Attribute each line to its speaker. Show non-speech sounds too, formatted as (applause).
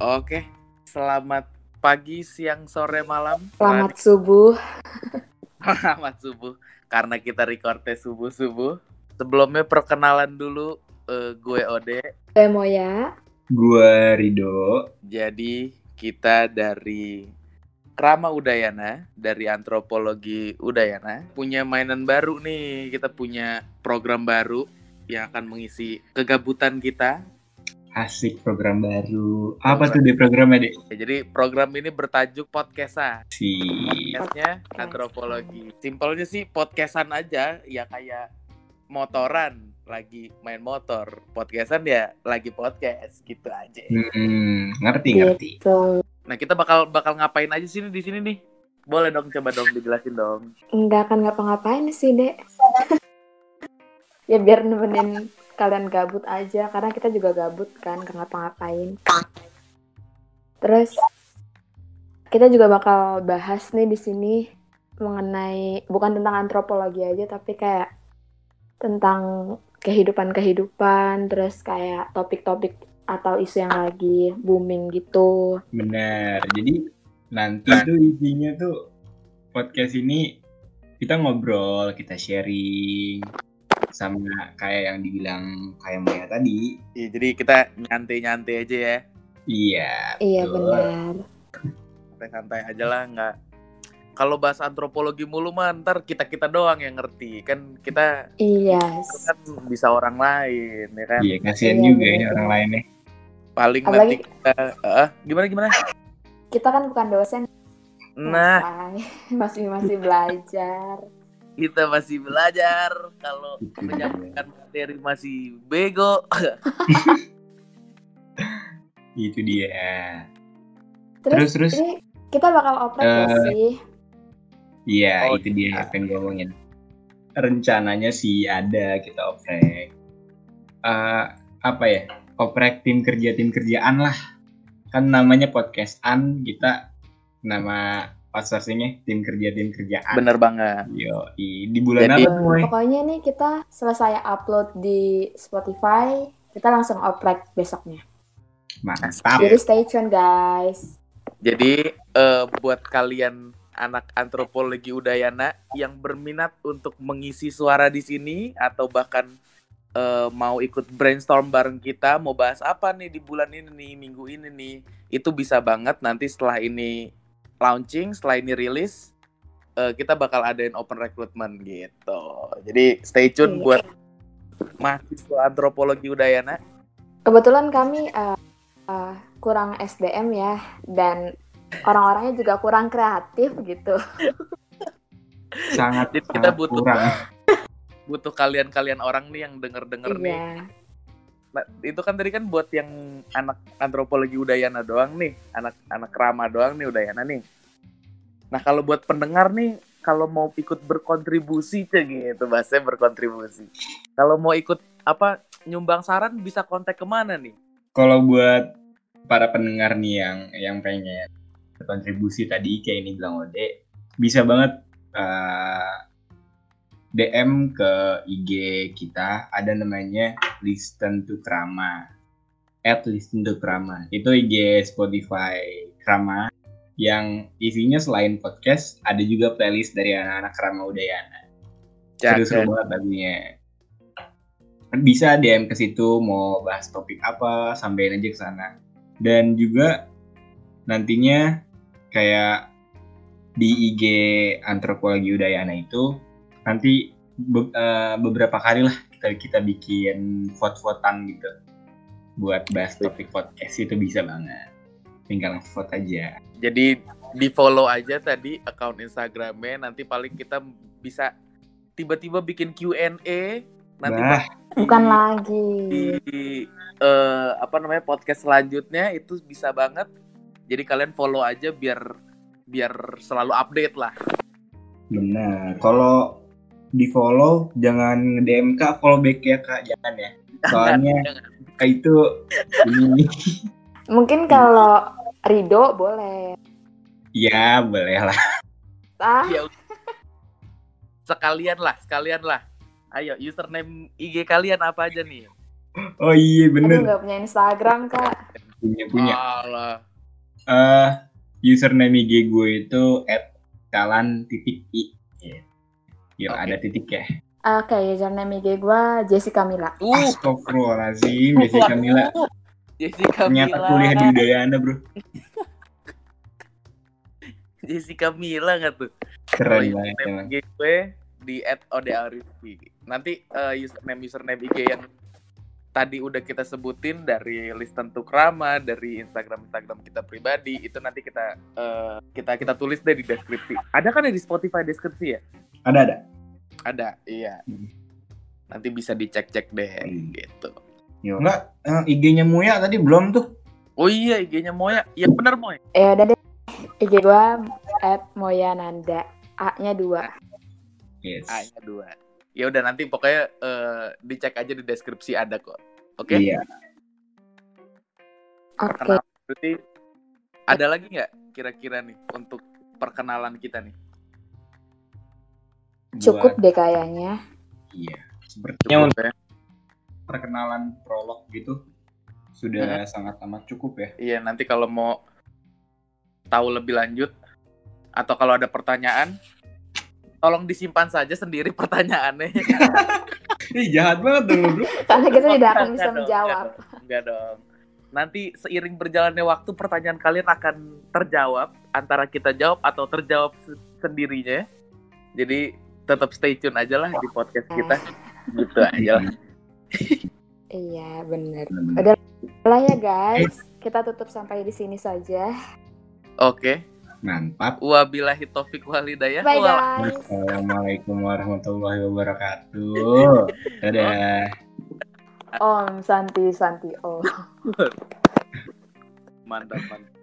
Speaker 1: Oke, selamat pagi, siang, sore, malam.
Speaker 2: Selamat subuh.
Speaker 1: Selamat subuh. Karena kita recordnya subuh-subuh. Sebelumnya perkenalan dulu eh, gue Ode.
Speaker 2: Gue Moya.
Speaker 3: Gua Rido.
Speaker 1: Jadi kita dari Krama Udayana dari Antropologi Udayana punya mainan baru nih. Kita punya program baru yang akan mengisi kegabutan kita.
Speaker 3: Asik program baru. Apa tuh di programnya,
Speaker 1: Ya,
Speaker 3: Dek?
Speaker 1: jadi program ini bertajuk podcastan.
Speaker 3: Si
Speaker 1: podcastnya antropologi. Simpelnya sih podcastan aja ya kayak motoran lagi main motor, podcastan ya lagi podcast gitu aja.
Speaker 3: Hmm, ngerti ngerti.
Speaker 2: Gitu.
Speaker 1: Nah kita bakal bakal ngapain aja sini di sini nih? Boleh dong coba dong dijelasin dong.
Speaker 2: Nggak akan ngapa-ngapain sih, Dek. (laughs) ya biar nemenin kalian gabut aja. Karena kita juga gabut kan, nggak ngapa-ngapain. Terus, kita juga bakal bahas nih di sini mengenai, bukan tentang antropologi aja, tapi kayak tentang kehidupan-kehidupan, terus kayak topik-topik atau isu yang lagi booming gitu.
Speaker 3: Benar. Jadi nanti tuh isinya tuh podcast ini kita ngobrol, kita sharing sama kayak yang dibilang kayak Maya tadi.
Speaker 1: Iya, jadi kita nyantai-nyantai aja ya.
Speaker 3: Iya.
Speaker 2: Iya
Speaker 3: betul.
Speaker 2: benar.
Speaker 1: Santai-santai aja lah nggak. Kalau bahas antropologi mulu mah ntar kita-kita doang yang ngerti. Kan kita
Speaker 2: Iya.
Speaker 1: kan bisa orang lain ya kan.
Speaker 3: Iya, kasihan
Speaker 2: Iya,
Speaker 3: juga ya
Speaker 2: benar.
Speaker 3: orang lainnya.
Speaker 1: Paling nanti
Speaker 2: Apalagi-
Speaker 1: kita eh, gimana gimana?
Speaker 2: Kita kan bukan dosen,
Speaker 1: Nah,
Speaker 2: Mas. (laughs) masih masih belajar.
Speaker 1: kita masih belajar kalau
Speaker 3: Gitu.
Speaker 1: menyampaikan materi masih bego.
Speaker 3: Itu dia.
Speaker 2: Terus,
Speaker 3: Terus, terus.
Speaker 2: ini kita bakal oprek nggak sih.
Speaker 3: Iya,
Speaker 1: Oh,
Speaker 3: itu dia
Speaker 1: iya.
Speaker 3: yang pengen gue omongin. Rencananya sih ada kita oprek. Eh, apa ya? Oprek tim kerja tim kerjaan lah. Kan namanya podcastan kita nama outsourcingnya tim kerja tim kerjaan.
Speaker 1: Bener banget.
Speaker 3: Yo, di bulan
Speaker 1: Jadi-
Speaker 3: apa tuh? Moy?
Speaker 2: Pokoknya nih kita selesai upload di Spotify, kita langsung oprek besoknya.
Speaker 3: Mantap.
Speaker 2: Jadi stay tune guys.
Speaker 1: Jadi eh, buat kalian anak antropologi Udayana yang berminat untuk mengisi suara di sini atau bahkan eh, mau ikut brainstorm bareng kita mau bahas apa nih di bulan ini nih minggu ini nih itu bisa banget nanti setelah ini launching setelah ini rilis eh, kita bakal adain open recruitment gitu. Jadi stay tune
Speaker 2: Iya.
Speaker 1: buat mahasiswa antropologi Udayana.
Speaker 2: Kebetulan kami eh, eh, kurang SDM ya dan orang-orangnya juga kurang kreatif gitu.
Speaker 1: (laughs)
Speaker 3: Sangat
Speaker 1: Jadi kita
Speaker 3: sangat
Speaker 1: butuh-
Speaker 3: kurang.
Speaker 1: Butuh kalian-kalian orang nih yang denger-denger nih
Speaker 2: Iya.
Speaker 1: Nah, itu kan tadi kan buat yang anak antropologi Udayana doang nih, anak anak Rama doang nih Udayana nih. Nah, kalau buat pendengar nih, kalau mau ikut berkontribusi cek gitu bahasanya berkontribusi. Kalau mau ikut apa nyumbang saran bisa kontak kemana nih?
Speaker 3: Kalau buat para pendengar nih yang yang pengen berkontribusi tadi kayak ini bilang Ode, bisa banget eh, DM ke IG kita ada namanya Listen to Krama. At Listen to Krama. Itu IG Spotify Krama yang isinya selain podcast ada juga playlist dari anak-anak Krama Udayana.
Speaker 1: Ya,
Speaker 3: Seru-seru banget lagunya. Kan Bisa DM ke situ mau bahas topik apa, sampein aja ke sana. Dan juga nantinya kayak di IG Antropologi Udayana itu nanti be- eh, beberapa kali lah kita, kita bikin vote-votan gitu buat bahas topik podcast itu bisa banget. Tinggal vote aja.
Speaker 1: Jadi di follow aja tadi account Instagramnya. Nanti paling kita bisa tiba-tiba bikin Q&A. Nanti
Speaker 3: Wah.
Speaker 1: pas-
Speaker 2: Bukan lagi.
Speaker 1: di eh, apa namanya podcast selanjutnya itu bisa banget. Jadi kalian follow aja biar biar selalu update lah.
Speaker 3: Benar. Kalau di follow jangan DM Kak, follow back ya Kak, jangan ya. Soalnya
Speaker 1: Jangan.
Speaker 3: Kak itu ini (laughs)
Speaker 2: Mungkin kalau Rido boleh.
Speaker 3: ya boleh lah.
Speaker 2: Ah,
Speaker 1: Ya, sekalian lah, sekalian lah. Ayo username IG kalian apa aja nih?
Speaker 3: Oh iya
Speaker 2: aduh
Speaker 3: bener.
Speaker 2: nggak punya Instagram kak.
Speaker 3: punya punya.
Speaker 1: Alah.
Speaker 3: Eh, username IG gue itu @kalan titik i. Iya. Yo,
Speaker 1: Oke.
Speaker 3: ada titik ya.
Speaker 2: Oke, username IG gue Jessica Mila.
Speaker 1: Uh,
Speaker 3: Astagfirullahaladzim, Jessica Mila.
Speaker 1: Jessica
Speaker 3: Ternyata
Speaker 1: Mila.
Speaker 3: kuliah di Udayana bro.
Speaker 1: Jessica Mila nggak tuh?
Speaker 3: Keren
Speaker 1: Kalau
Speaker 3: banget
Speaker 1: username
Speaker 3: emang.
Speaker 1: IG gue E di @odearifki. Nanti eh, username username IG yang tadi udah kita sebutin dari listen to krama dari Instagram Instagram kita pribadi itu nanti kita eh, kita kita tulis deh di deskripsi. Ada kan ya di Spotify deskripsi ya?
Speaker 3: Ada ada.
Speaker 1: Ada, iya.
Speaker 3: Hmm.
Speaker 1: Nanti bisa dicek-cek deh
Speaker 3: Hmm.
Speaker 1: gitu.
Speaker 3: Yo. Enggak, eh, IG-nya Muya tadi belum tuh.
Speaker 1: Oh iya IG-nya Moya. Iya bener Moya.
Speaker 2: Ya udah deh, IG gue @moyananda. A-nya dua.
Speaker 3: Yes.
Speaker 1: A-nya Ah, dua. Ya udah nanti pokoknya eh, dicek aja di deskripsi ada kok. Oke?
Speaker 3: Iya.
Speaker 2: Oke.
Speaker 1: Kenapa? Berarti ada lagi nggak kira-kira nih untuk perkenalan kita nih?
Speaker 2: Cukup
Speaker 3: Buat-
Speaker 2: deh kayaknya.
Speaker 3: Iya. Sepertinya
Speaker 1: Cukup
Speaker 3: untuk
Speaker 1: ya?
Speaker 3: perkenalan prolog gitu sudah sangat amat cukup ya. (laughs)
Speaker 1: Iya nanti kalau mau tahu lebih lanjut atau kalau ada pertanyaan, tolong disimpan saja sendiri (laughs)
Speaker 2: (laughs)
Speaker 1: pertanyaannya.
Speaker 3: Ih jahat banget dong lu, bro.
Speaker 2: Karena kita tidak akan
Speaker 1: Enggak
Speaker 2: bisa
Speaker 1: dong,
Speaker 2: menjawab.
Speaker 1: enggak dong, Enggak dong. Nanti seiring berjalannya waktu pertanyaan kalian akan terjawab antara kita jawab atau terjawab se- sendirinya. Jadi tetap stay tune aja lah di podcast kita. Gitu aja lah.
Speaker 2: Iya, bener.
Speaker 3: Bener-bener.
Speaker 2: Lah ya guys, kita tutup sampai di sini saja.
Speaker 1: Oke.
Speaker 3: Mantap.
Speaker 1: Wabillahi taufik walhidayah.
Speaker 2: Bye
Speaker 1: Wal-
Speaker 2: guys.
Speaker 3: Assalamualaikum warahmatullahi wabarakatuh. Dadah.
Speaker 2: Om Santi Santi Om.
Speaker 1: Mantap, mantap.